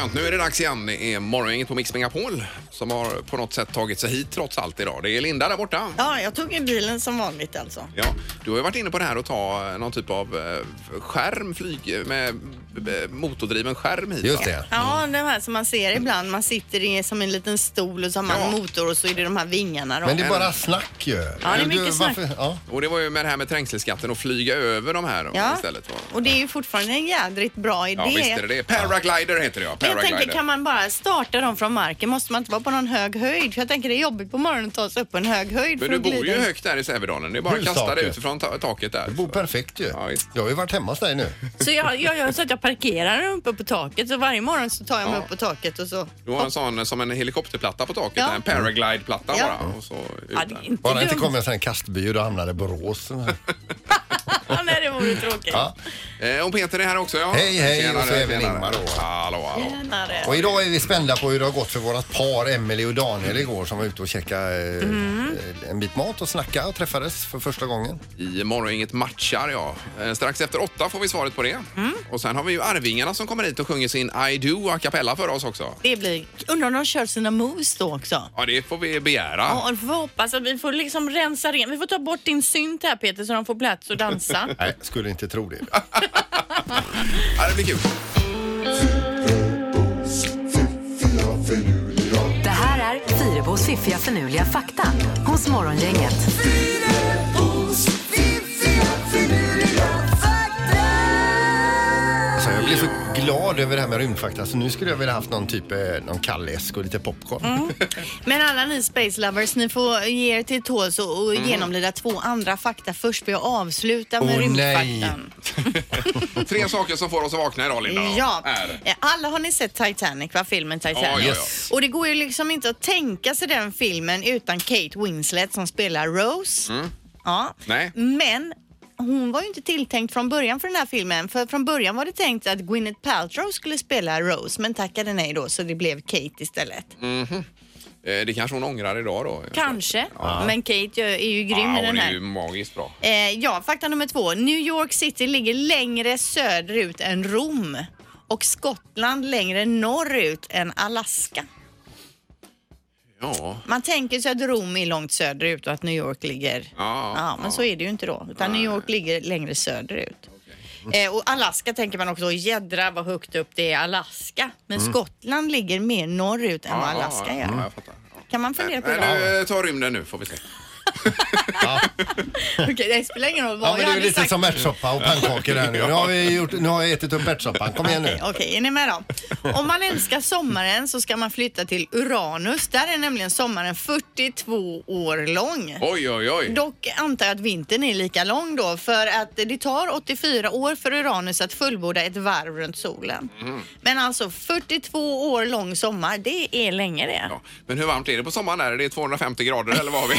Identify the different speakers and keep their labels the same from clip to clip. Speaker 1: sant. Nu är det dags igen. Det är morgongänget på Mix Megapol som har på något sätt tagit sig hit trots allt idag. Det är Linda där borta.
Speaker 2: Ja, jag tog ju bilen som vanligt alltså.
Speaker 1: Ja, du har ju varit inne på det här att ta någon typ av eh, skärm, flyg, med eh, motordriven skärm hit.
Speaker 3: Just
Speaker 1: va?
Speaker 3: det.
Speaker 2: Ja,
Speaker 1: Mm.
Speaker 2: det här som man ser ibland. Man sitter i som en liten stol och så har man
Speaker 1: Ja.
Speaker 2: motor och så är det de här vingarna. Då.
Speaker 3: Men det är bara snack ju. Ja,
Speaker 2: är mycket snack.
Speaker 3: Ja.
Speaker 1: Och det var ju med det här med trängselskatten och flyga över de här
Speaker 2: ja.
Speaker 1: istället. va?
Speaker 2: Och det är ju fortfarande en jädrigt bra idé.
Speaker 1: Ja, visst är det det. Paraglider heter det ja.
Speaker 2: Jag
Speaker 1: Paraglider.
Speaker 2: tänker, kan man bara starta dem från marken? Måste man inte vara på någon hög höjd? För jag tänker det är jobbigt på morgonen att ta sig upp på en hög höjd
Speaker 1: Men
Speaker 2: för
Speaker 1: du
Speaker 2: att
Speaker 1: bor ju
Speaker 2: glida.
Speaker 1: högt där i Sävedalen. Det är bara att kasta dig
Speaker 3: Hustaket.
Speaker 1: utifrån ta- taket där.
Speaker 3: Det bor perfekt ju.
Speaker 1: Ja, visst.
Speaker 3: Jag har ju varit hemma hos dig nu.
Speaker 2: Så jag, jag gör så att jag parkerar uppe på taket. Så varje morgon så tar jag mig
Speaker 1: Ja.
Speaker 2: upp på taket och så...
Speaker 1: Du har en sån eh, som en helikopterplatta på taket,
Speaker 2: Ja.
Speaker 1: där, en paraglideplatta
Speaker 2: Ja.
Speaker 1: bara. Och så ut
Speaker 2: Ja, det är
Speaker 1: där.
Speaker 2: inte
Speaker 3: Bara inte
Speaker 2: dumt.
Speaker 3: kommer en sån här kastby och då hamnar det i Borås.
Speaker 2: Ja, nej, det vore tråkigt.
Speaker 3: Ja.
Speaker 1: Eh, och Peter är här också ja.
Speaker 3: Hej, hej,
Speaker 1: Tjenare,
Speaker 3: och så även
Speaker 1: tjenare.
Speaker 3: Ingmar då.
Speaker 1: Hallå, hallå.
Speaker 2: Tjänare.
Speaker 3: Och idag är vi spända på hur det har gått för vårat par Emelie och Daniel igår som var ute och käkade eh,
Speaker 2: Mm.
Speaker 3: eh, en bit mat och snackade och träffades för första gången.
Speaker 1: I morgon inget matchar ja. Eh, strax efter åtta får vi svaret på det.
Speaker 2: Mm.
Speaker 1: Och sen har vi ju Arvingarna som kommer hit och sjunger sin I do a cappella för oss också.
Speaker 2: Det blir... Undrar om de kör sina moves då också?
Speaker 1: Ja, det får vi begära.
Speaker 2: Ja, och vi får hoppas att vi får liksom rensa rent. Vi får ta bort din synt här Peter så de får plats att dansa.
Speaker 3: Nej, skulle inte tro det.
Speaker 1: Ja, det blir kul.
Speaker 4: Det här är Fyrabos fiffiga förnuliga fakta hos Morgongänget.
Speaker 3: Alltså, jag blev så glad över det här med rymdfakta så nu skulle jag vilja haft någon typ eh, någon kalläsk och lite popcorn.
Speaker 2: Mm. Men alla ni space lovers, ni får ge er till tåls och, och genomlida två andra fakta först för jag avslutar med
Speaker 3: Åh,
Speaker 2: rymdfaktan.
Speaker 1: Tre saker som får oss att vakna idag Linda. då,
Speaker 2: Ja,
Speaker 1: Är.
Speaker 2: Eh, alla har ni sett Titanic va? Filmen Titanic.
Speaker 1: Ja, ja, ja.
Speaker 3: Yes.
Speaker 2: Och det går ju liksom inte att tänka sig den filmen utan Kate Winslet som spelar Rose. Ja.
Speaker 1: Nej.
Speaker 2: Men hon var ju inte tilltänkt från början för den här filmen. För från början var det tänkt att Gwyneth Paltrow skulle spela Rose men tackade nej då så det blev Kate istället.
Speaker 1: Mm. Eh, Det kanske hon ångrar idag då.
Speaker 2: Kanske, men Kate är ju grym
Speaker 1: Ja, hon
Speaker 2: i den
Speaker 1: är
Speaker 2: här.
Speaker 1: ju magiskt bra.
Speaker 2: Eh, ja, fakta nummer två. New York City ligger längre söderut än Rom och Skottland längre norrut än Alaska.
Speaker 1: Ja.
Speaker 2: Man tänker sig att Rom är långt söderut och att New York ligger...
Speaker 1: Ja,
Speaker 2: men så är det ju inte då. Utan New York ligger längre söderut. Eh, och Alaska tänker man också, jädra vad högt upp det är i Alaska. Men
Speaker 3: Mm.
Speaker 2: Skottland ligger mer norrut än vad
Speaker 1: Ja,
Speaker 2: Alaska
Speaker 1: ja, ja,
Speaker 2: gör.
Speaker 1: jag fattar. Ja.
Speaker 2: Kan man fundera på
Speaker 1: Nej,
Speaker 2: det?
Speaker 1: nu eh, tar rymden nu får vi se.
Speaker 2: Okej, det spelar ingen roll
Speaker 3: Ja,
Speaker 2: vad jag
Speaker 3: men det är
Speaker 2: hade
Speaker 3: lite
Speaker 2: sagt.
Speaker 3: som ärtsoppa och pannkakor här nu. Nu har, vi gjort, nu har jag ätit upp ärtsoppan. Kom igen nu.
Speaker 2: Okej, okej, är ni med då? Om man älskar sommaren så ska man flytta till Uranus. Där är nämligen sommaren 42 år lång.
Speaker 1: Oj, oj, oj.
Speaker 2: Dock antar jag att vintern är lika lång då för att det tar 84 år för Uranus att fullborda ett varv runt solen.
Speaker 1: Mhm.
Speaker 2: Men alltså 42 år lång sommar, det är länge det.
Speaker 1: Ja. Men hur varmt är det på sommaren? Där? Är det 250 grader eller vad har vi?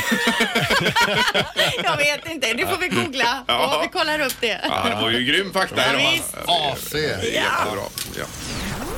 Speaker 2: Jag vet inte, det får vi googla
Speaker 1: Ja.
Speaker 2: och vi kollar upp det.
Speaker 1: Ja, det var ju grym fakta
Speaker 2: Ja,
Speaker 1: idag.
Speaker 2: visst.
Speaker 3: AC.
Speaker 1: Jättebra. Ja.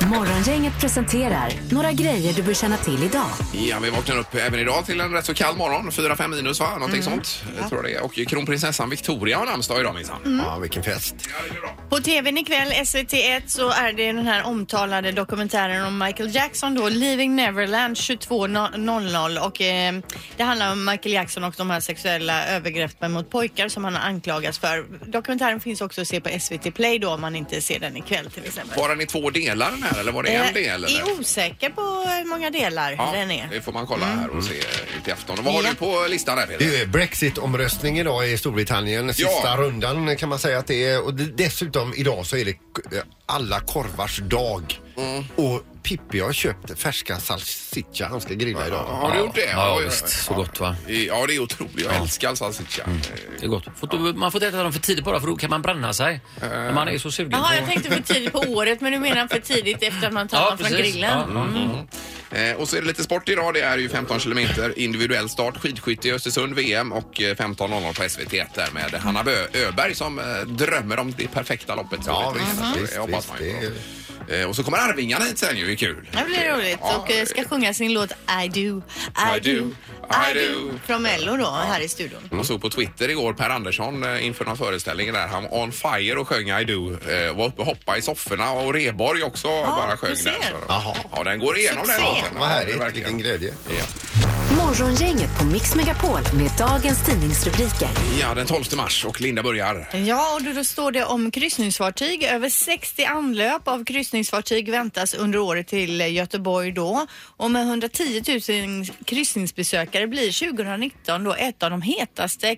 Speaker 4: Morgongänget presenterar några grejer du bör känna till idag.
Speaker 1: ja, vi vaknar upp även idag till en rätt så kall morgon. 4-5 minus va? Någonting
Speaker 2: Mm.
Speaker 1: sånt. Jag tror jag det är. Och kronprinsessan Victoria har namnsdag idag minsann.
Speaker 2: Mm.
Speaker 3: Ja, vilken fest.
Speaker 1: Ja, det blir bra.
Speaker 2: På tvn ikväll, SVT1, så är det den här omtalade dokumentären om Michael Jackson då, Leaving Neverland 22.00 och eh, det handlar om Michael Jackson och de här sexuella övergreppen mot pojkar som han anklagas för. Dokumentären finns också att se på SVT Play då om man inte ser den ikväll till exempel.
Speaker 1: Var den i två delar den här eller var det en del?
Speaker 2: Jag
Speaker 1: Eller?
Speaker 2: är osäker på hur många delar
Speaker 1: Ja,
Speaker 2: Eh, den är. Mm.
Speaker 1: det får man kolla här och se ut i afton. Och Vad har
Speaker 2: Ja.
Speaker 1: du på listan där Peter?
Speaker 3: Det är Brexit-omröstning idag i Storbritannien. Sista
Speaker 1: Ja.
Speaker 3: rundan kan man säga att det är. Och det- dessutom idag så är det eh, alla korvars dag.
Speaker 1: Mm.
Speaker 3: Och Pippi har köpt färska salsiccia han ska grilla idag.
Speaker 1: Har du gjort det?
Speaker 5: Ja,
Speaker 1: Oj,
Speaker 5: visst. Mm. Så
Speaker 1: oj, oj.
Speaker 5: gott va?
Speaker 1: Ja, det är otroligt. Jag älskar salsiccia. Eh,
Speaker 5: Det är gott. Får du- Man får inte äta dem för tidigt bara för då kan man bränna sig. När
Speaker 6: Eh.
Speaker 5: Man är så sugen
Speaker 2: Jaha, jag
Speaker 5: på...
Speaker 2: tänkte för tidigt på året men du menar för tidigt efter att man tar den från grillen?
Speaker 5: Ja, mm.
Speaker 1: Eh, och så är det lite sport idag. Det är ju 15 kilometer individuell start skidskytte i Östersund, VM och eh, 15.00 på SVT1 där med Hanna Bö- Öberg som eh, drömmer om det perfekta loppet.
Speaker 3: Ja,
Speaker 1: Så det-
Speaker 3: visst,
Speaker 1: det-
Speaker 3: visst,
Speaker 1: jag hoppas man ju
Speaker 3: visst,
Speaker 1: på. Eh, Och så kommer Arvingarna hit sen ju, det är kul.
Speaker 2: Det blir roligt eh,
Speaker 1: Ja,
Speaker 2: och eh, ska sjunga sin låt I do, I,
Speaker 1: I do, I do.
Speaker 2: Från Mello då, här i studion.
Speaker 1: Mm. Jag såg på Twitter igår Per Andersson eh, inför någon föreställning där. Han var on fire och sjöng I do. Eh, var uppe och hoppade i sofforna och Reborg också bara sjöng
Speaker 2: du ser.
Speaker 1: där. Så,
Speaker 3: Jaha.
Speaker 1: ja, den går igenom den
Speaker 2: Succé.
Speaker 1: låten.
Speaker 3: Vad
Speaker 1: Ja, det är
Speaker 3: härligt,
Speaker 1: verkligen.
Speaker 3: vilken glädje.
Speaker 1: Ja.
Speaker 4: Morgongänget på Mix Megapol med dagens tidningsrubriker.
Speaker 1: Ja, den 12 mars och Linda börjar.
Speaker 2: Ja, och då, då står det om kryssningsfartyg. Över 60 anlöp av kryssningsfartyg väntas under året till eh, Göteborg då. Och med 110 000 kryssningsbesökare blir 2019 då ett av de hetaste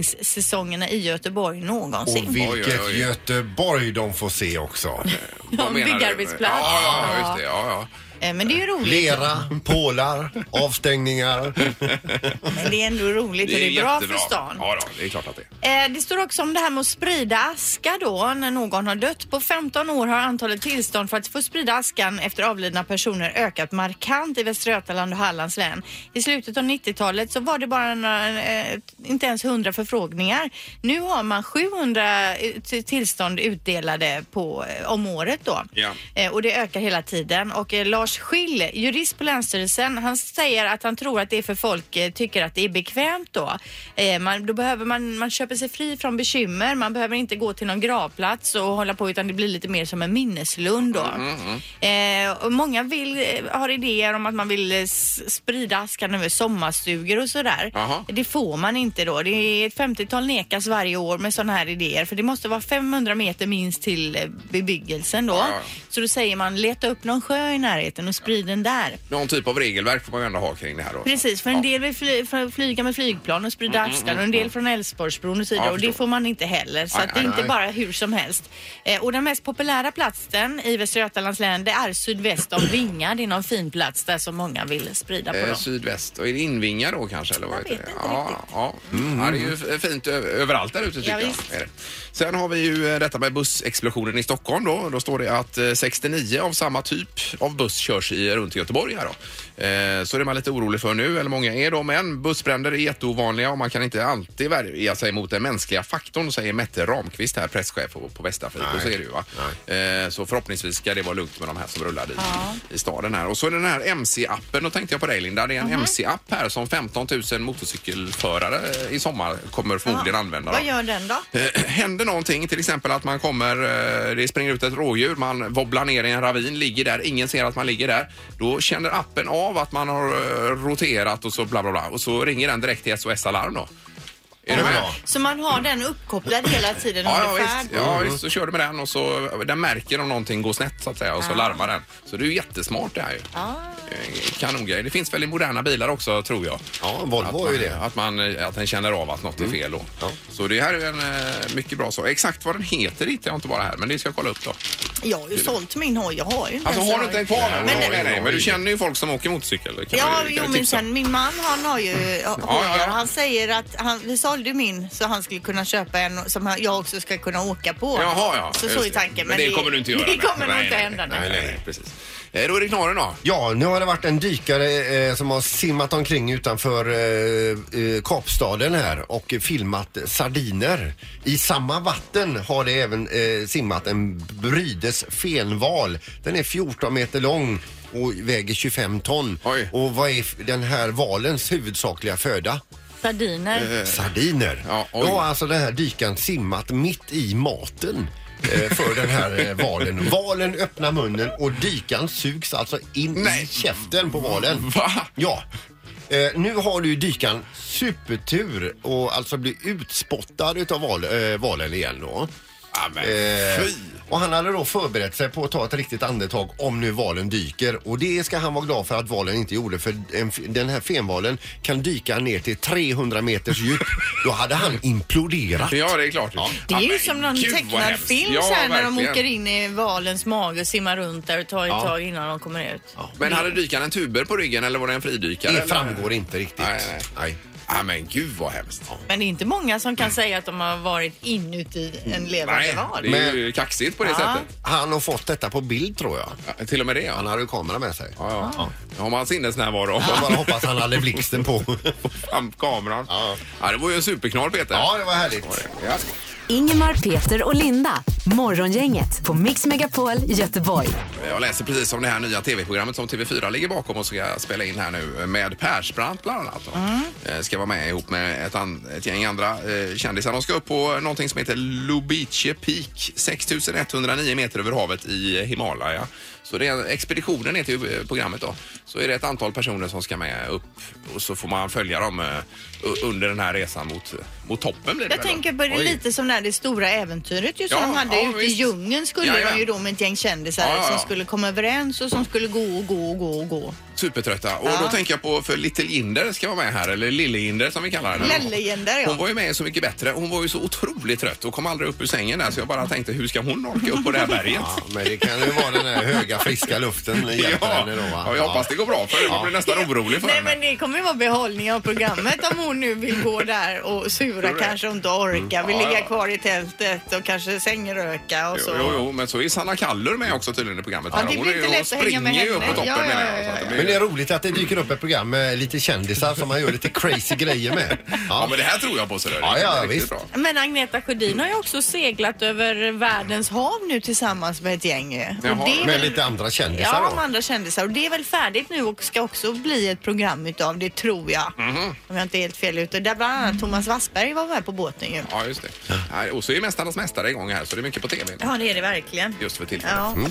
Speaker 2: kryssningssäsongerna i Göteborg någonsin.
Speaker 3: Och vilket
Speaker 1: Oj, oj, oj.
Speaker 3: Göteborg de får se också.
Speaker 1: Vad
Speaker 2: en
Speaker 1: menar du?
Speaker 2: byggarbetsplats.
Speaker 1: Ja, ja, just det. Ja,
Speaker 2: Eh, Men det är ju roligt.
Speaker 3: Lera, pålar, avstängningar.
Speaker 2: Men det är ändå
Speaker 1: ja.
Speaker 2: roligt och det är bra för stan.
Speaker 1: Ja, då, det är klart att det är.
Speaker 2: Eh, Det står också om det här med att sprida aska då när någon har dött. På 15 år har antalet tillstånd för att få sprida askan efter avlidna personer ökat markant i Västra Götaland och Hallands län. I slutet av 90-talet så var det bara några, eh, inte ens 100 förfrågningar. Nu har man 700 t- tillstånd utdelade på, eh, om året då.
Speaker 1: Ja.
Speaker 2: Eh, Och det ökar hela tiden. Och eh, Lars Schill, jurist på Länsstyrelsen, han säger att han tror att det är för folk eh, tycker att det är bekvämt då. Eh, Man, då behöver man, man köper sig fri från bekymmer, man behöver inte gå till någon gravplats och hålla på utan det blir lite mer som en minneslund då. Eh, och många vill, eh, har idéer om att man vill eh, s- sprida askan över sommarstugor och sådär.
Speaker 1: Jaha.
Speaker 2: Det får man inte då. Det är ett 50-tal nekas varje år med sådana här idéer för det måste vara 500 meter minst till eh, bebyggelsen då.
Speaker 1: Ja.
Speaker 2: Så då säger man leta upp någon sjö i närheten och sprid den där.
Speaker 1: Någon typ av regelverk får man ju ändå ha kring det här då.
Speaker 2: Precis, för en del vill fly, för flyga med flygplan och sprida
Speaker 1: Mm,
Speaker 2: askan och en del från Älvsborgsbron och så vidare
Speaker 1: Ja, jag
Speaker 2: och det
Speaker 1: förstår.
Speaker 2: får man inte heller. Så
Speaker 1: Nej,
Speaker 2: att det är
Speaker 1: nej,
Speaker 2: inte
Speaker 3: nej.
Speaker 2: bara hur som helst. Eh, och den mest populära platsen i Västra Götalands län det är sydväst om Vinga. Det är någon fin plats där som många vill sprida på
Speaker 1: Eh,
Speaker 2: dem.
Speaker 1: sydväst, och är det Invinga då kanske? Eller vad
Speaker 2: Jag
Speaker 1: heter
Speaker 2: vet
Speaker 1: det?
Speaker 2: inte
Speaker 1: ja,
Speaker 2: riktigt.
Speaker 1: Ja. Mm. ja, det är ju f- fint ö- överallt där ute tycker
Speaker 2: Ja, visst.
Speaker 1: jag. Är det. Sen har vi ju eh, detta med bussexplosionen i Stockholm då. Då står det att eh, 69 av samma typ av buss körs i, runt i Göteborg här då. Eh, Så det är man lite orolig för nu, eller många är då. Men bussbränder är jätteovanliga och man kan inte alltid värja sig mot den mänskliga faktorn, säger Mette Ramqvist här, presschef på, på Västtrafik. Och så är det ju va. Eh, Så förhoppningsvis ska det vara lugnt med de här som rullar i, i staden här. Och så är det den här MC-appen, då tänkte jag på dig Linda. Det är en
Speaker 2: Mhm.
Speaker 1: MC-app här som 15 000 motorcykelförare eh, i sommar kommer förmodligen använda. då.
Speaker 2: Vad gör den då?
Speaker 1: Eh, Händer någonting, till exempel att man kommer, eh, det springer ut ett rådjur, man wobblar ner i en ravin, ligger där, ingen ser att man ligger där. Då känner appen av att man har eh, roterat och så bla bla bla och så ringer den direkt till SOS Alarm då. Är du med?
Speaker 3: Ja.
Speaker 2: Så man har den uppkopplad hela tiden
Speaker 1: Ja,
Speaker 2: under
Speaker 1: ja,
Speaker 2: färd.
Speaker 1: visst. ja visst, så kör du med den och så den märker om någonting går snett så att säga och så larmar den. Så det är ju jättesmart det här ju. Eh, Kanongrej. Det finns väl i moderna bilar också tror jag.
Speaker 3: Ja, Volvo är
Speaker 1: man-
Speaker 3: ju det. Mm.
Speaker 1: Att, man, eh, att den känner av att något är fel då. Så det här är en eh, mycket bra sak. Exakt vad den heter hittar jag inte bara här, men det ska jag kolla upp då.
Speaker 2: Jag har ju sålt min hoj, jag har ju inte
Speaker 1: Alltså
Speaker 2: ens
Speaker 1: har du
Speaker 2: en
Speaker 1: inte
Speaker 2: hoj.
Speaker 1: den kvar nu?
Speaker 2: Men-
Speaker 1: Nej, nej, nej, men du känner ju folk som åker motorcykel. Kan
Speaker 2: Ja,
Speaker 1: man ju- kan
Speaker 2: jo,
Speaker 1: ju
Speaker 2: men
Speaker 1: tipsa om.
Speaker 2: sen min man han har ju ha-
Speaker 1: Ja, ja, ja.
Speaker 2: hojar. Han säger att han, vi sålde ju min så han skulle kunna köpa en som han- jag också ska kunna åka på.
Speaker 1: Jaha, ja.
Speaker 2: Så,
Speaker 1: just
Speaker 2: så är
Speaker 1: det.
Speaker 2: tanken.
Speaker 1: Men det, kommer du inte göra.
Speaker 2: Det
Speaker 1: nej.
Speaker 2: kommer nog
Speaker 1: Nej,
Speaker 2: inte
Speaker 1: nej,
Speaker 2: hända.
Speaker 1: Nej,
Speaker 2: nej.
Speaker 1: nej, nej, precis. Eh, Då är det knorren då.
Speaker 3: Ja, nu har det varit en dykare eh, som har simmat omkring utanför eh, eh, Kapstaden här och filmat sardiner. I samma vatten har det även eh, simmat en brydes fenval. Den är 14 meter lång och väger 25 ton.
Speaker 1: Oj.
Speaker 3: Och vad är f- den här valens huvudsakliga föda?
Speaker 4: Eh.
Speaker 2: Sardiner.
Speaker 3: Sardiner.
Speaker 1: Eh, Ja, oj.
Speaker 3: Då har alltså den här dykaren simmat mitt i maten eh, för den här eh, valen. Valen öppnar munnen och dykan sugs alltså in
Speaker 1: Nej.
Speaker 3: i käften på valen.
Speaker 1: Va?
Speaker 3: Ja. Eh, nu har du dykan supertur och alltså blir utspottad utav val, eh, valen igen då.
Speaker 1: Ja, men
Speaker 3: Eh,
Speaker 1: fy.
Speaker 3: och han hade då förberett sig på att ta ett riktigt andetag om nu valen dyker och det ska han vara glad för att valen inte gjorde för en, f- den här fenvalen kan dyka ner till 300 meters djup. Då hade han imploderat.
Speaker 1: Ja, det är klart.
Speaker 2: Det är
Speaker 1: Ja,
Speaker 2: ju
Speaker 1: men
Speaker 2: som någon
Speaker 1: gud, vad
Speaker 2: tecknad
Speaker 1: hemskt.
Speaker 2: film
Speaker 1: Ja,
Speaker 2: så här, när de
Speaker 1: verkligen.
Speaker 2: åker in i valens mage och simmar runt där och tar ett tag innan de kommer ut.
Speaker 1: Men hade dykaren en tuber på ryggen eller var det en fridykare?
Speaker 3: Det
Speaker 1: eller?
Speaker 3: framgår inte riktigt.
Speaker 1: Nej, nej. Ja, men gud vad hemskt.
Speaker 2: Men det är inte många som kan säga att de har varit inuti en levande
Speaker 1: Nej,
Speaker 2: val.
Speaker 1: det är ju kaxigt på det sättet.
Speaker 3: Han har fått detta på bild tror jag.
Speaker 1: Ja, till och med det, ja.
Speaker 3: Han
Speaker 1: ja,
Speaker 3: hade ju kamera med sig.
Speaker 1: ja. ja. Har man sinnesnärvaro
Speaker 3: Jag bara hoppas han hade blixten på.
Speaker 1: fram kameran. Ja.
Speaker 3: Ja.
Speaker 1: det var ju en superknall, Peter.
Speaker 3: Ja, det var härligt.
Speaker 1: Ja.
Speaker 4: Ingemar, Peter och Linda. Morgongänget på Mix Megapol Göteborg.
Speaker 1: Jag läser precis om det här nya tv-programmet som TV4 ligger bakom och ska spela in här nu med Persbrandt bland annat. då.
Speaker 2: Mm.
Speaker 1: Eh, Ska vara med ihop med ett, an- ett gäng andra eh, kändisar. De ska upp på någonting som heter Lubice Peak, 6109 meter över havet i Himalaya. Så det är, expeditionen är till eh, programmet då. Så är det ett antal personer som ska med upp och så får man följa dem eh, u- under den här resan mot, mot toppen blir det
Speaker 2: Jag
Speaker 1: väl då?
Speaker 2: tänker på det
Speaker 1: Oj.
Speaker 2: lite som när det stora äventyret ju som
Speaker 1: Ja,
Speaker 2: de hade
Speaker 1: ja,
Speaker 2: ute i
Speaker 1: visst.
Speaker 2: djungeln skulle
Speaker 1: Ja, ja.
Speaker 2: de ju då med ett gäng kändisar
Speaker 1: Ja, ja, ja.
Speaker 2: som skulle komma överens och som skulle gå och gå och gå och gå.
Speaker 1: Supertrötta. Och då tänker jag på för Little Jinder ska vara med här, eller Lille Jinder som vi kallar henne.
Speaker 2: Lelle Jinder, ja.
Speaker 1: Hon var ju med Så mycket bättre. Hon var ju så otroligt trött och kom aldrig upp ur sängen där så jag bara tänkte hur ska hon orka upp på det här berget?
Speaker 3: Ja, men det kan ju vara den här höga friska luften hjälper
Speaker 1: Ja,
Speaker 3: henne då va?
Speaker 1: ja, jag hoppas det går bra för man blir nästan orolig för
Speaker 2: Nej
Speaker 1: henne.
Speaker 2: men det kommer ju vara behållning av programmet om hon nu vill gå där och sura
Speaker 1: Tror du det?
Speaker 2: kanske och inte orkar. Vill
Speaker 1: Ja, ja.
Speaker 2: ligga kvar i tältet och kanske sängröka och
Speaker 1: Jo,
Speaker 2: så.
Speaker 1: jo, jo, men så är Sanna Kallur med också tydligen i programmet.
Speaker 2: Ja,
Speaker 1: här.
Speaker 2: det blir
Speaker 1: Hon är ju-
Speaker 2: inte lätt att hänga med
Speaker 1: springer ju upp
Speaker 2: henne.
Speaker 1: på toppen
Speaker 2: Ja, ja,
Speaker 1: menar
Speaker 2: ja,
Speaker 1: jag. Så att det
Speaker 2: ja.
Speaker 1: blir-
Speaker 3: Men det är roligt att det dyker upp ett program med lite kändisar som man gör lite crazy grejer med.
Speaker 1: Ja,
Speaker 3: Ja,
Speaker 1: men det här tror jag på. Så det är
Speaker 3: Ja, ja,
Speaker 1: riktigt
Speaker 3: visst.
Speaker 1: bra.
Speaker 2: Men Agneta Sjödin har ju också seglat över världens hav nu tillsammans med ett gäng. ju. Och
Speaker 1: Jaha,
Speaker 2: det är väl-
Speaker 3: med lite andra kändisar
Speaker 2: Ja,
Speaker 3: då.
Speaker 2: med andra kändisar. Och det är väl färdigt nu och ska också bli ett program utav det tror jag.
Speaker 3: Mhm.
Speaker 2: Om jag inte är helt fel ute. Där bland
Speaker 3: Mm.
Speaker 2: annat Thomas Wassberg var med på båten ju.
Speaker 1: Ja, just det. Nej, Och så är Mästarnas mästare igång här så det är mycket på tv
Speaker 2: Ja, det är det verkligen.
Speaker 1: just för tillfället.
Speaker 2: Ja.
Speaker 3: Mm.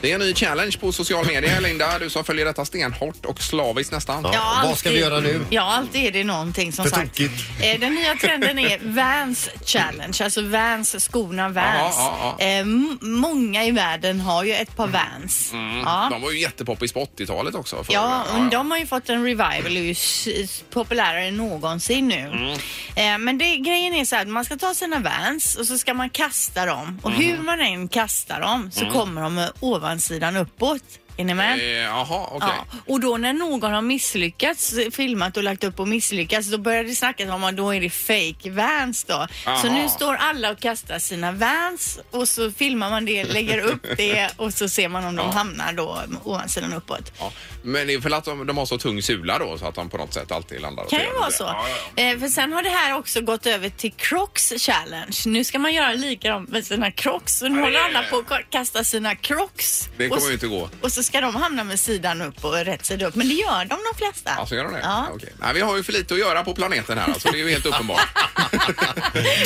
Speaker 1: Det är en ny challenge på social media, Linda. Du som följer detta stenhårt och slaviskt nästan.
Speaker 3: Ja. Vad ska vi göra nu?
Speaker 2: Ja, alltid är det någonting som
Speaker 3: För
Speaker 2: sagt.
Speaker 3: tokigt.
Speaker 2: Eh, Den nya trenden är Vans Challenge, alltså Vans, skorna Vans.
Speaker 1: Ja, ja, ja.
Speaker 2: Eh, m- många i världen har ju ett par Vans.
Speaker 3: Mm.
Speaker 2: Ja.
Speaker 1: De var ju jättepoppis på 80-talet också. förr.
Speaker 2: Ja, och de har ju fått en revival och är ju s- s- populärare än någonsin nu.
Speaker 1: Mm.
Speaker 2: Eh, men det, grejen är så här att man ska ta sina Vans och så ska man kasta dem. Och hur
Speaker 1: Mm.
Speaker 2: man än kastar dem så kommer de med ovansidan uppåt. Är ni med?
Speaker 1: Eh, Jaha, okej.
Speaker 2: Ja, och då när någon har misslyckats, eh, filmat och lagt upp och misslyckats, då börjar det snackas om att då är det fake vans då. Så
Speaker 1: Aha.
Speaker 2: nu står alla och kastar sina vans och så filmar man det, lägger upp det och så ser man om de hamnar då ovansidan uppåt.
Speaker 1: Ja. Men det är för att de, de har så tung sula då så att de på något sätt alltid landar åt
Speaker 2: Kan
Speaker 1: fel
Speaker 2: ju vara
Speaker 1: håll.
Speaker 2: så.
Speaker 1: Ja, ja, ja.
Speaker 2: Eh, för sen har det här också gått över till Crocs challenge. Nu ska man göra likadant med sina Crocs. Och nu
Speaker 1: Ja, det
Speaker 2: håller
Speaker 1: är-
Speaker 2: alla på att kasta sina Crocs.
Speaker 1: Det kommer
Speaker 2: och,
Speaker 1: ju inte gå.
Speaker 2: Och så ska de hamna med sidan upp och rätt sida upp. Men det gör de de flesta.
Speaker 1: Alltså gör de det?
Speaker 2: Ja.
Speaker 1: Okej. Nej, vi har ju för lite att göra på planeten här alltså. Det är ju helt uppenbart.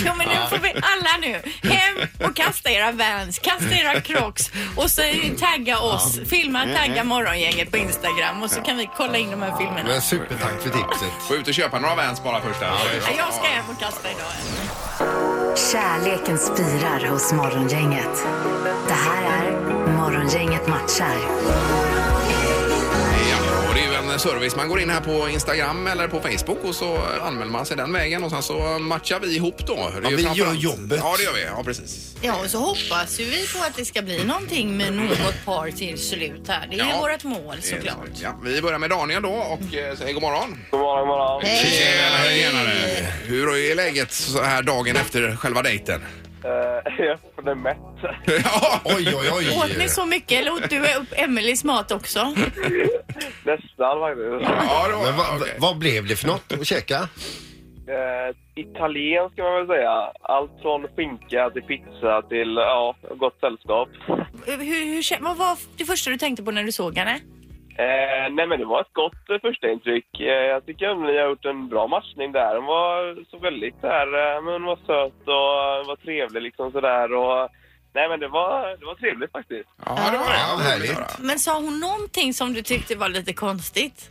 Speaker 2: Jo, men nu får vi alla nu hem och kasta era Vans, kasta era Crocs och så tagga oss. Filma, tagga morgongänget på Instagram och så kan vi kolla in de här filmerna.
Speaker 3: Men supertack för tipset.
Speaker 1: Få ut och köpa några Vans bara först här.
Speaker 2: Ja, Jag ska hem och kasta idag.
Speaker 4: Kärleken spirar hos Morgongänget. Det här är Morgongänget matchar.
Speaker 1: Ja, och det är ju en service. Man går in här på Instagram eller på Facebook och så anmäler man sig den vägen och sen så matchar vi ihop då. Det är ju
Speaker 3: vi
Speaker 1: framförallt-
Speaker 3: gör jobbet.
Speaker 1: Ja, det gör vi. Ja, precis.
Speaker 2: Ja, och så hoppas ju vi på att det ska bli någonting med något par till slut här. Det är
Speaker 1: Ja.
Speaker 2: ju vårt mål
Speaker 1: Det är-
Speaker 2: såklart.
Speaker 1: Ja, vi börjar med Daniel då och eh, säger god morgon.
Speaker 7: God morgon, god morgon.
Speaker 1: Tjenare, tjenare. Hur är läget så här dagen efter själva dejten?
Speaker 7: Eh, jag är det mätt.
Speaker 1: Ja,
Speaker 3: Oj, oj,
Speaker 2: Åt ni
Speaker 3: oj.
Speaker 2: så mycket eller åt du upp Emelies mat också?
Speaker 7: Nästan faktiskt.
Speaker 1: ja då,
Speaker 3: Men vad,
Speaker 1: okej.
Speaker 3: vad blev det för något att käka?
Speaker 7: Eh, Italiensk kan man väl säga. Allt från skinka till pizza till ja, gott sällskap.
Speaker 2: Hur, hur, kä- vad var det första du tänkte på när du såg henne?
Speaker 7: Eh, nej men det var ett gott eh, första intryck. Eh, jag tycker att ni har gjort en bra matchning där. Hon var så väldigt där. Eh, men hon var söt och var trevlig liksom sådär. Och, nej men det var, det var trevligt faktiskt.
Speaker 1: Ja, det var det.
Speaker 3: Ja,
Speaker 1: Vad
Speaker 3: härligt.
Speaker 1: roligt att höra.
Speaker 2: Men sa hon någonting som du tyckte var lite konstigt?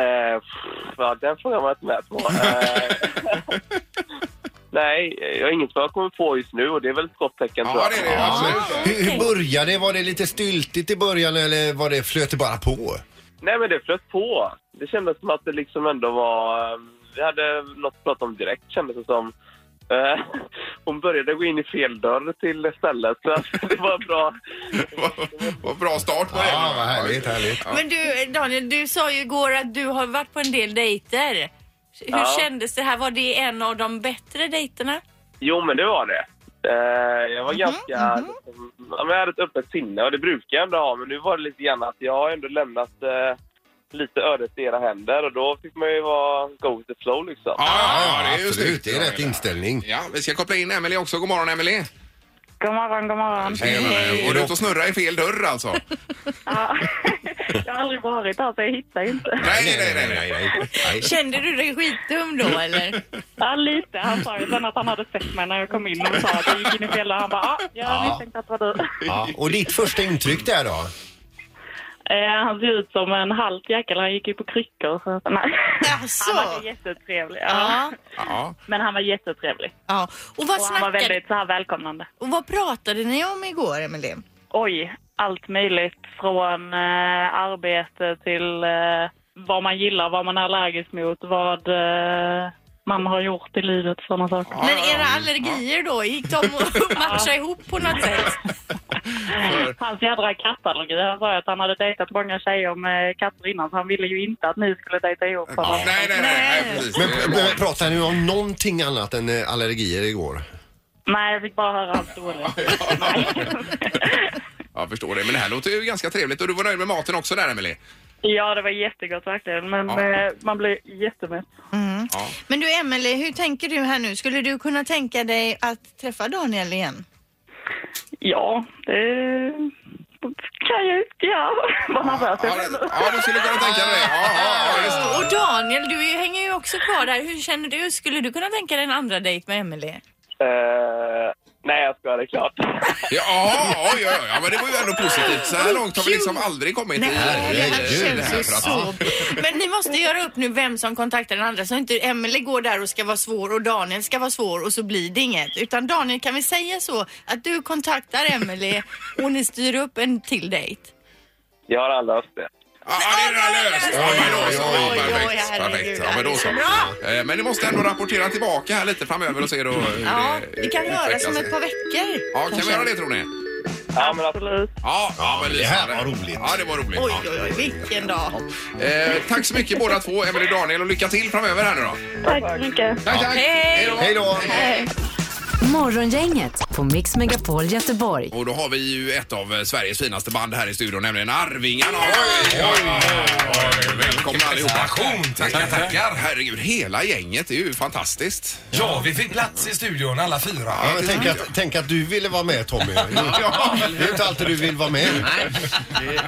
Speaker 7: Eh, pff, ja, den frågan var jag inte med på. Eh, nej, jag har inget vad jag kommer på just nu och det är väl ett gott tecken
Speaker 1: Ja, det är det. Absolut.
Speaker 3: Hur, hur började det? Var det lite styltigt i början eller var det flöt det bara på?
Speaker 7: Nej, men det flöt på. Det kändes som att det liksom ändå var... eh, Vi hade något att prata om direkt, kändes det som. Eh, hon började gå in i fel dörr till stället, så att det var bra.
Speaker 1: Vad- Vad bra start på det.
Speaker 3: Ja, vad härligt, härligt.
Speaker 2: Men du Daniel, du sa ju igår att du har varit på en del dejter. Hur
Speaker 7: Ja.
Speaker 2: kändes det här? Var det en av de bättre dejterna?
Speaker 7: Jo, men det var det. Eh, jag var ganska... Liksom, ja, men jag hade ett öppet sinne och det brukar jag ändå ha, men nu var det lite grann att jag har ändå lämnat eh, lite ödet i era händer och då fick man ju vara go with the flow liksom.
Speaker 1: Ja, ja,
Speaker 3: Ja,
Speaker 1: det är ju
Speaker 3: absolut.
Speaker 1: snyggt.
Speaker 3: Det är rätt inställning.
Speaker 1: Ja, vi ska koppla in Emelie också. God morgon Emelie.
Speaker 8: God morgon, god morgon.
Speaker 1: Hej. Var du ute och snurra i fel dörr alltså?
Speaker 8: Ja. jag har aldrig varit här så jag hittar inte.
Speaker 1: nej, nej, nej, nej.
Speaker 3: nej.
Speaker 2: Kände du dig skitdum då eller?
Speaker 8: Ja, lite. Han sa ju sen att han hade sett mig när jag kom in och sa att jag gick in i fel och han bara ah, jag misstänkte att det var du.
Speaker 3: Ja, och ditt första intryck där då?
Speaker 8: Eh, han ser ut som en halt jäkel. Han gick ju på kryckor. Så, nej.
Speaker 2: Jaså?
Speaker 8: Han var jättetrevlig. Ja.
Speaker 2: Alltså. Ja.
Speaker 1: Ja.
Speaker 8: Men han var jättetrevlig.
Speaker 2: ja. Och vad
Speaker 8: Och han var
Speaker 2: snackade
Speaker 8: väldigt så här välkomnande.
Speaker 2: Och vad pratade ni om igår Emelie?
Speaker 8: Oj, allt möjligt. Från eh, arbete till eh, vad man gillar, vad man är allergisk mot, vad eh, man har gjort i livet, sådana saker.
Speaker 2: Men era allergier då, gick de att matcha ihop på något sätt?
Speaker 8: Hans jädra kattallergi. Han sa ju att han hade dejtat många tjejer med katter innan så han ville ju inte att ni skulle dejta ihop honom.
Speaker 1: Nej, nej, nej, nej,
Speaker 2: Nej.
Speaker 1: precis.
Speaker 3: Men
Speaker 1: Det är
Speaker 3: pr-
Speaker 1: bra.
Speaker 3: pr- pratade ni om någonting annat än eh, allergier igår?
Speaker 8: Nej, jag fick bara höra hans dåliga.
Speaker 1: Jag förstår det, men det här låter ju ganska trevligt. Och du var nöjd med maten också där, Emelie?
Speaker 8: Ja, det var jättegott verkligen. Men
Speaker 1: Ja.
Speaker 8: eh, man blir jättemätt.
Speaker 1: Ja.
Speaker 2: Men du Emelie, hur tänker du här nu? Skulle du kunna tänka dig att träffa Daniel igen?
Speaker 8: Ja, det kan jag inte göra. Vad nervös jag
Speaker 1: Ja,
Speaker 8: blev
Speaker 1: det-
Speaker 8: nu.
Speaker 1: ja, du skulle kunna tänka dig det. Ja, ja, ja, just.
Speaker 2: Och Daniel, du är- hänger ju också kvar där. Hur känner du? Skulle du kunna tänka dig en andra dejt med Emelie?
Speaker 7: Eh, nej, jag skojar, det är klart.
Speaker 1: Ja, ja, ja, ja, ja, men det var ju ändå positivt. Så här långt har vi liksom aldrig kommit i...
Speaker 2: Nej, det här
Speaker 1: i det
Speaker 2: känns
Speaker 1: här
Speaker 2: ju
Speaker 1: för att-
Speaker 2: så... Men ni måste göra upp nu vem som kontaktar den andra så inte Emelie går där och ska vara svår och Daniel ska vara svår och så blir det inget. Utan Daniel, kan vi säga så att du kontaktar Emelie och ni styr upp en till dejt?
Speaker 7: Jag har alla löst det.
Speaker 1: Ja, det är redan löst! Ja, men då så.
Speaker 2: Oj, oj, oj,
Speaker 1: Perfekt, perfekt.
Speaker 2: herregud.
Speaker 1: Ja, men då så.
Speaker 2: Bra.
Speaker 1: Eh, Men ni måste ändå rapportera tillbaka här lite framöver och se då hur
Speaker 2: Ja,
Speaker 1: det
Speaker 2: vi kan höra
Speaker 1: utvecklas.
Speaker 2: som ett par veckor.
Speaker 1: Ja, kan vi
Speaker 2: kanske.
Speaker 1: göra det tror ni?
Speaker 7: Ja, men alltså,
Speaker 8: Absolut.
Speaker 1: Ja, ja men
Speaker 3: det här
Speaker 1: lysande.
Speaker 3: var roligt.
Speaker 1: Ja, det var roligt.
Speaker 2: Oj,
Speaker 1: Ja.
Speaker 2: oj, oj, vilken dag.
Speaker 1: Eh, tack så mycket båda två, Emelie och Daniel, och lycka till framöver här nu då.
Speaker 8: Tack så mycket.
Speaker 1: Tack, tack. Hej då.
Speaker 3: Hej då!
Speaker 2: Eh,
Speaker 4: Morgongänget på Mix Megapol Göteborg.
Speaker 1: Och då har vi ju ett av eh, Sveriges finaste band här i studion, nämligen Arvingarna. Oj, oj, oj, oj. Välkomna allihopa.
Speaker 6: prestation.
Speaker 1: Tackar, tackar. Herregud, hela gänget är ju fantastiskt.
Speaker 6: Ja, vi fick plats i studion alla fyra.
Speaker 3: Ja, men tänk, att, tänk att du ville vara med Tommy.
Speaker 1: Ja.
Speaker 3: Det är inte alltid du vill vara med.
Speaker 5: Nej,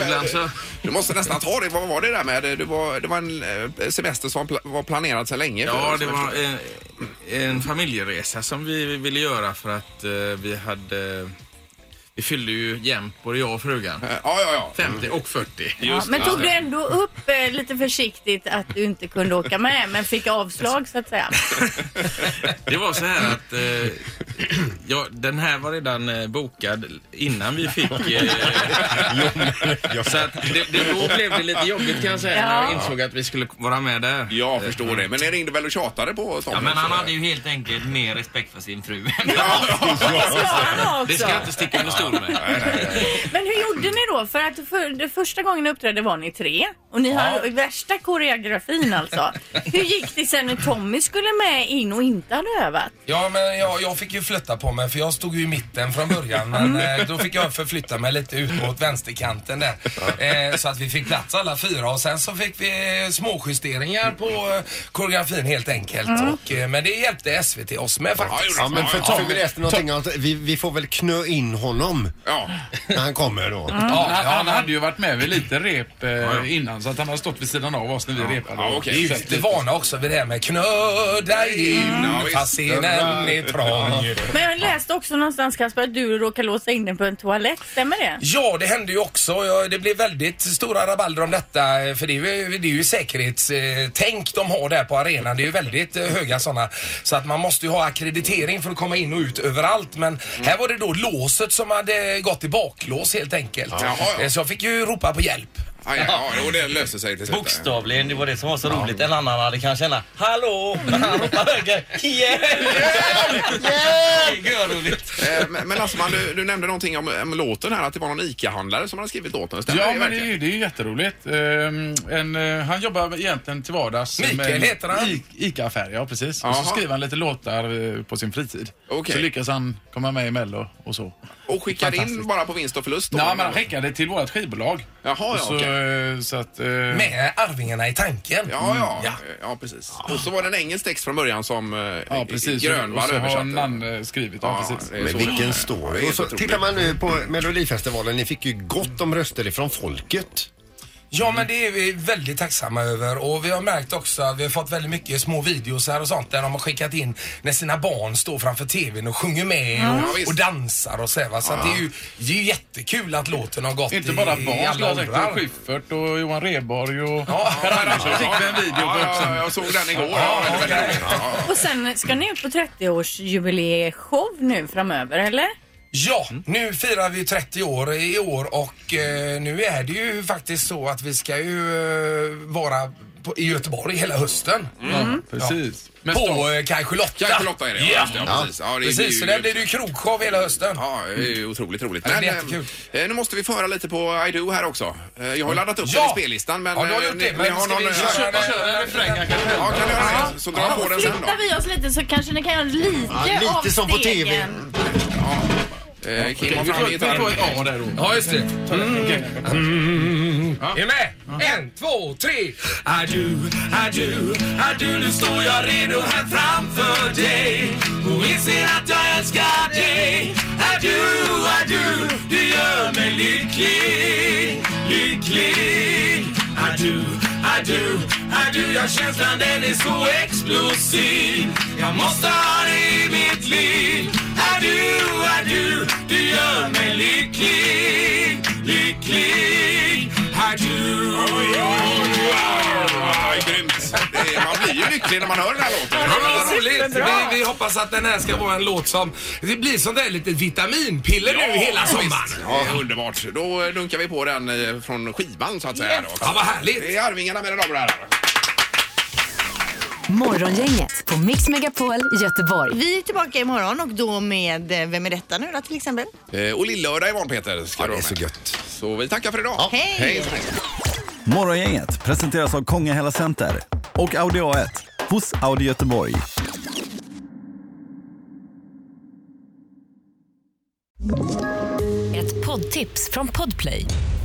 Speaker 5: ibland så...
Speaker 1: Du måste nästan ta det. Vad var det där med? Det var, det var en eh, semester som pla- var planerad sedan länge.
Speaker 6: Ja,
Speaker 1: För-
Speaker 6: det var en, en familjeresa som vi ville göra för att eh, vi hade... Vi fyllde ju jämt, både jag och frugan.
Speaker 1: Eh, Ja, ja, ja.
Speaker 6: 50 och 40.
Speaker 2: Ja, men tog du ändå upp eh, lite försiktigt att du inte kunde åka med men fick avslag så att säga?
Speaker 6: Det var så här att eh, ja, den här var redan eh, bokad innan vi fick... Eh, så att det, det, då blev det lite jobbigt kan jag säga när jag insåg att vi skulle vara med där.
Speaker 1: Jag förstår det. Men ni ringde väl och tjatade på Tommy?
Speaker 9: Ja, men han
Speaker 1: också?
Speaker 9: hade ju helt enkelt mer respekt för sin fru.
Speaker 1: Ja, ja.
Speaker 2: Det ska han
Speaker 6: Det
Speaker 2: också.
Speaker 6: ska jag inte sticka under stol med.
Speaker 2: Men hur gjorde ni då? För att för, det första gången ni uppträdde var ni tre och ni har värsta koreografin alltså. Hur gick det sen när Tommy skulle med in och inte hade övat?
Speaker 10: Ja, men jag, jag fick ju flytta på mig för jag stod ju i mitten från början. Men eh, då fick jag förflytta mig lite ut mot vänsterkanten där. Eh, så att vi fick plats alla fyra och sen så fick vi eh, småjusteringar på eh, koreografin helt enkelt. Och, eh, men det hjälpte SVT oss med faktiskt.
Speaker 3: Mm. Ja, men för
Speaker 1: Ja,
Speaker 3: Tommy läste någonting om att vi, vi får väl knö in honom
Speaker 1: ja.
Speaker 3: när han kommer
Speaker 10: Mm.
Speaker 3: då.
Speaker 6: Ja, han, han hade ju varit med vid lite rep eh, innan så att han har stått vid sidan av oss när vi repade.
Speaker 1: Ja,
Speaker 10: Vi är
Speaker 1: okej.
Speaker 10: ju lite vana också vid det här med knö dig in
Speaker 1: Ja, visst.
Speaker 10: fast scenen är trång.
Speaker 2: Men jag läste också någonstans Kasper att du råkade låsa in den på en toalett, stämmer det?
Speaker 10: Ja, det hände ju också. Ja, Det blev väldigt stora rabalder om detta. eh, För det är ju, det är ju säkerhetstänk eh, de har där på arenan. Det är ju väldigt eh, höga sådana. Så att man måste ju ha akkreditering för att komma in och ut överallt. Men här var det då låset som hade gått i baklås helt enkelt.
Speaker 1: Jaha, ja.
Speaker 10: Eh, Så jag fick ju ropa på hjälp.
Speaker 1: Ja, ja, ja, och det löser sig till slut.
Speaker 9: Bokstavligen, det var det som var så roligt. En annan hade kanske känna Hallå! Men han ropade höger. Yeah! Det är roligt.
Speaker 1: Eh, Men men Lassman, du, du nämnde någonting om, om låten här, att det var någon ICA-handlare som hade skrivit låten. Stämmer
Speaker 6: Ja,
Speaker 1: det
Speaker 6: men det är
Speaker 1: verkligen?
Speaker 6: ju, det är ju jätteroligt. Ehm, en, eh, han jobbar egentligen till vardags
Speaker 10: Mikael
Speaker 6: med en
Speaker 10: heter han.
Speaker 6: I- ICA-affär, ja precis. Och
Speaker 1: Jaha.
Speaker 6: så skriver han lite låtar eh, på sin fritid.
Speaker 1: Okej.
Speaker 6: Så lyckas han komma med i Mello och så.
Speaker 1: Och skickade in
Speaker 6: Fantastiskt.
Speaker 1: bara på vinst och förlust? då?
Speaker 6: Nej, men han skickade till vårt skivbolag.
Speaker 1: Jaha, ja,
Speaker 6: Och så
Speaker 1: okej.
Speaker 11: eh, så att... eh,
Speaker 10: Med Arvingarna i tanken.
Speaker 1: Ja, ja, ja. precis. Och så var det en engelsk text från början som eh,
Speaker 11: Ja, precis. Och
Speaker 1: Grönvall
Speaker 11: så har
Speaker 1: översatte.
Speaker 11: en man eh, skrivit. Ja, precis.
Speaker 1: det är så.
Speaker 3: Vilken
Speaker 1: Ja, det
Speaker 3: story.
Speaker 1: är
Speaker 3: Och så
Speaker 1: otroligt.
Speaker 3: tittar man nu på Melodifestivalen, ni fick ju gott om röster ifrån folket.
Speaker 10: Ja, men det är vi väldigt tacksamma över och vi har märkt också att vi har fått väldigt mycket små videos här och sånt där de har skickat in när sina barn står framför TVn och sjunger med och, och dansar och så, här, va? så att det, är ju, det är ju jättekul att låten har gått
Speaker 11: Inte
Speaker 10: i,
Speaker 11: bara
Speaker 10: i
Speaker 11: barn,
Speaker 10: alla
Speaker 11: Lars Hector
Speaker 10: åldrar.
Speaker 11: Schyffert och Johan Rheborg och Per
Speaker 10: ja,
Speaker 11: Andersson
Speaker 10: ja,
Speaker 11: fick vi en video på
Speaker 1: Ja,
Speaker 11: också.
Speaker 1: ja, jag såg den igår.
Speaker 10: Ja,
Speaker 1: Ja,
Speaker 10: okej.
Speaker 2: Och sen ska ni ut på 30-årsjubileeshow nu framöver, eller?
Speaker 10: Ja, nu firar vi 30 år i år och eh, nu är det ju faktiskt så att vi ska ju eh, vara på, i Göteborg hela hösten.
Speaker 11: Precis. Men
Speaker 10: På eh, Kaj Charlotta.
Speaker 1: Kaj Charlotta är det, ja.
Speaker 10: Ja.
Speaker 1: Just det, ja, precis. Ja, det är- det är ju-
Speaker 10: Precis, så där blir det ju krogshow hela hösten.
Speaker 1: Ja, det är ju otroligt roligt.
Speaker 10: Mm. Ja, det
Speaker 1: Men,
Speaker 10: blir jättekul. Mm.
Speaker 1: eh, nu måste vi föra lite på I Do här också. Eh, Jag har laddat upp
Speaker 10: Ja!
Speaker 1: den i spellistan men...
Speaker 10: Ja, du har
Speaker 1: eh,
Speaker 10: gjort
Speaker 1: ni-
Speaker 10: det,
Speaker 1: ni
Speaker 10: men
Speaker 1: har
Speaker 10: ska
Speaker 1: någon-
Speaker 10: vi köra den?
Speaker 11: Kör en refräng här kanske.
Speaker 1: Ja, kan vi göra det? Så drar jag på den sen då.
Speaker 2: Flyttar vi oss lite så kanske ni kan göra lite
Speaker 3: Ja, lite
Speaker 2: av
Speaker 3: som på TV.
Speaker 2: stegen.
Speaker 1: Eh, Kim har
Speaker 11: Vi
Speaker 1: fram
Speaker 11: får, vi får ett A
Speaker 1: gitarren.
Speaker 11: där då.
Speaker 10: Ja, just det. Mm. Mm. Är ni med? En, två, tre. Adu, adu, adu, nu står jag redo här framför dig och inser att jag älskar dig. Adu, adu, du gör mig lycklig, lycklig. Adu, adu, adu, ja känslan den är så explosiv. Jag måste ha dig i mitt liv. Adu, adu, du gör mig lycklig, lycklig. Adu.
Speaker 1: Grymt! Det- Man blir ju lycklig när man hör den här låten.
Speaker 10: Ja, men vad roligt! Vi, vi hoppas att den här ska vara en låt som... Det blir sånt där litet vitaminpiller nu hela sommaren.
Speaker 1: Ja, visst. underbart. Då dunkar vi på den eh, från skivan så att säga. då.
Speaker 10: Ja, vad härligt.
Speaker 1: Det är Arvingarna med den damer här.
Speaker 4: Morgongänget på Mix Megapol Göteborg.
Speaker 2: Vi är tillbaka imorgon och då med eh, Vem är detta nu då till exempel?
Speaker 1: Eh, Och lillördag imorgon Peter. Ska
Speaker 3: Ja,
Speaker 1: du
Speaker 3: det
Speaker 1: vara
Speaker 3: är så
Speaker 1: med.
Speaker 3: gött.
Speaker 1: Så vi tackar för idag.
Speaker 2: Hej.
Speaker 1: så länge.
Speaker 12: Morgongänget presenteras av Kongahälla Center och Audi A1 hos Audi Göteborg.
Speaker 13: Ett poddtips från Podplay.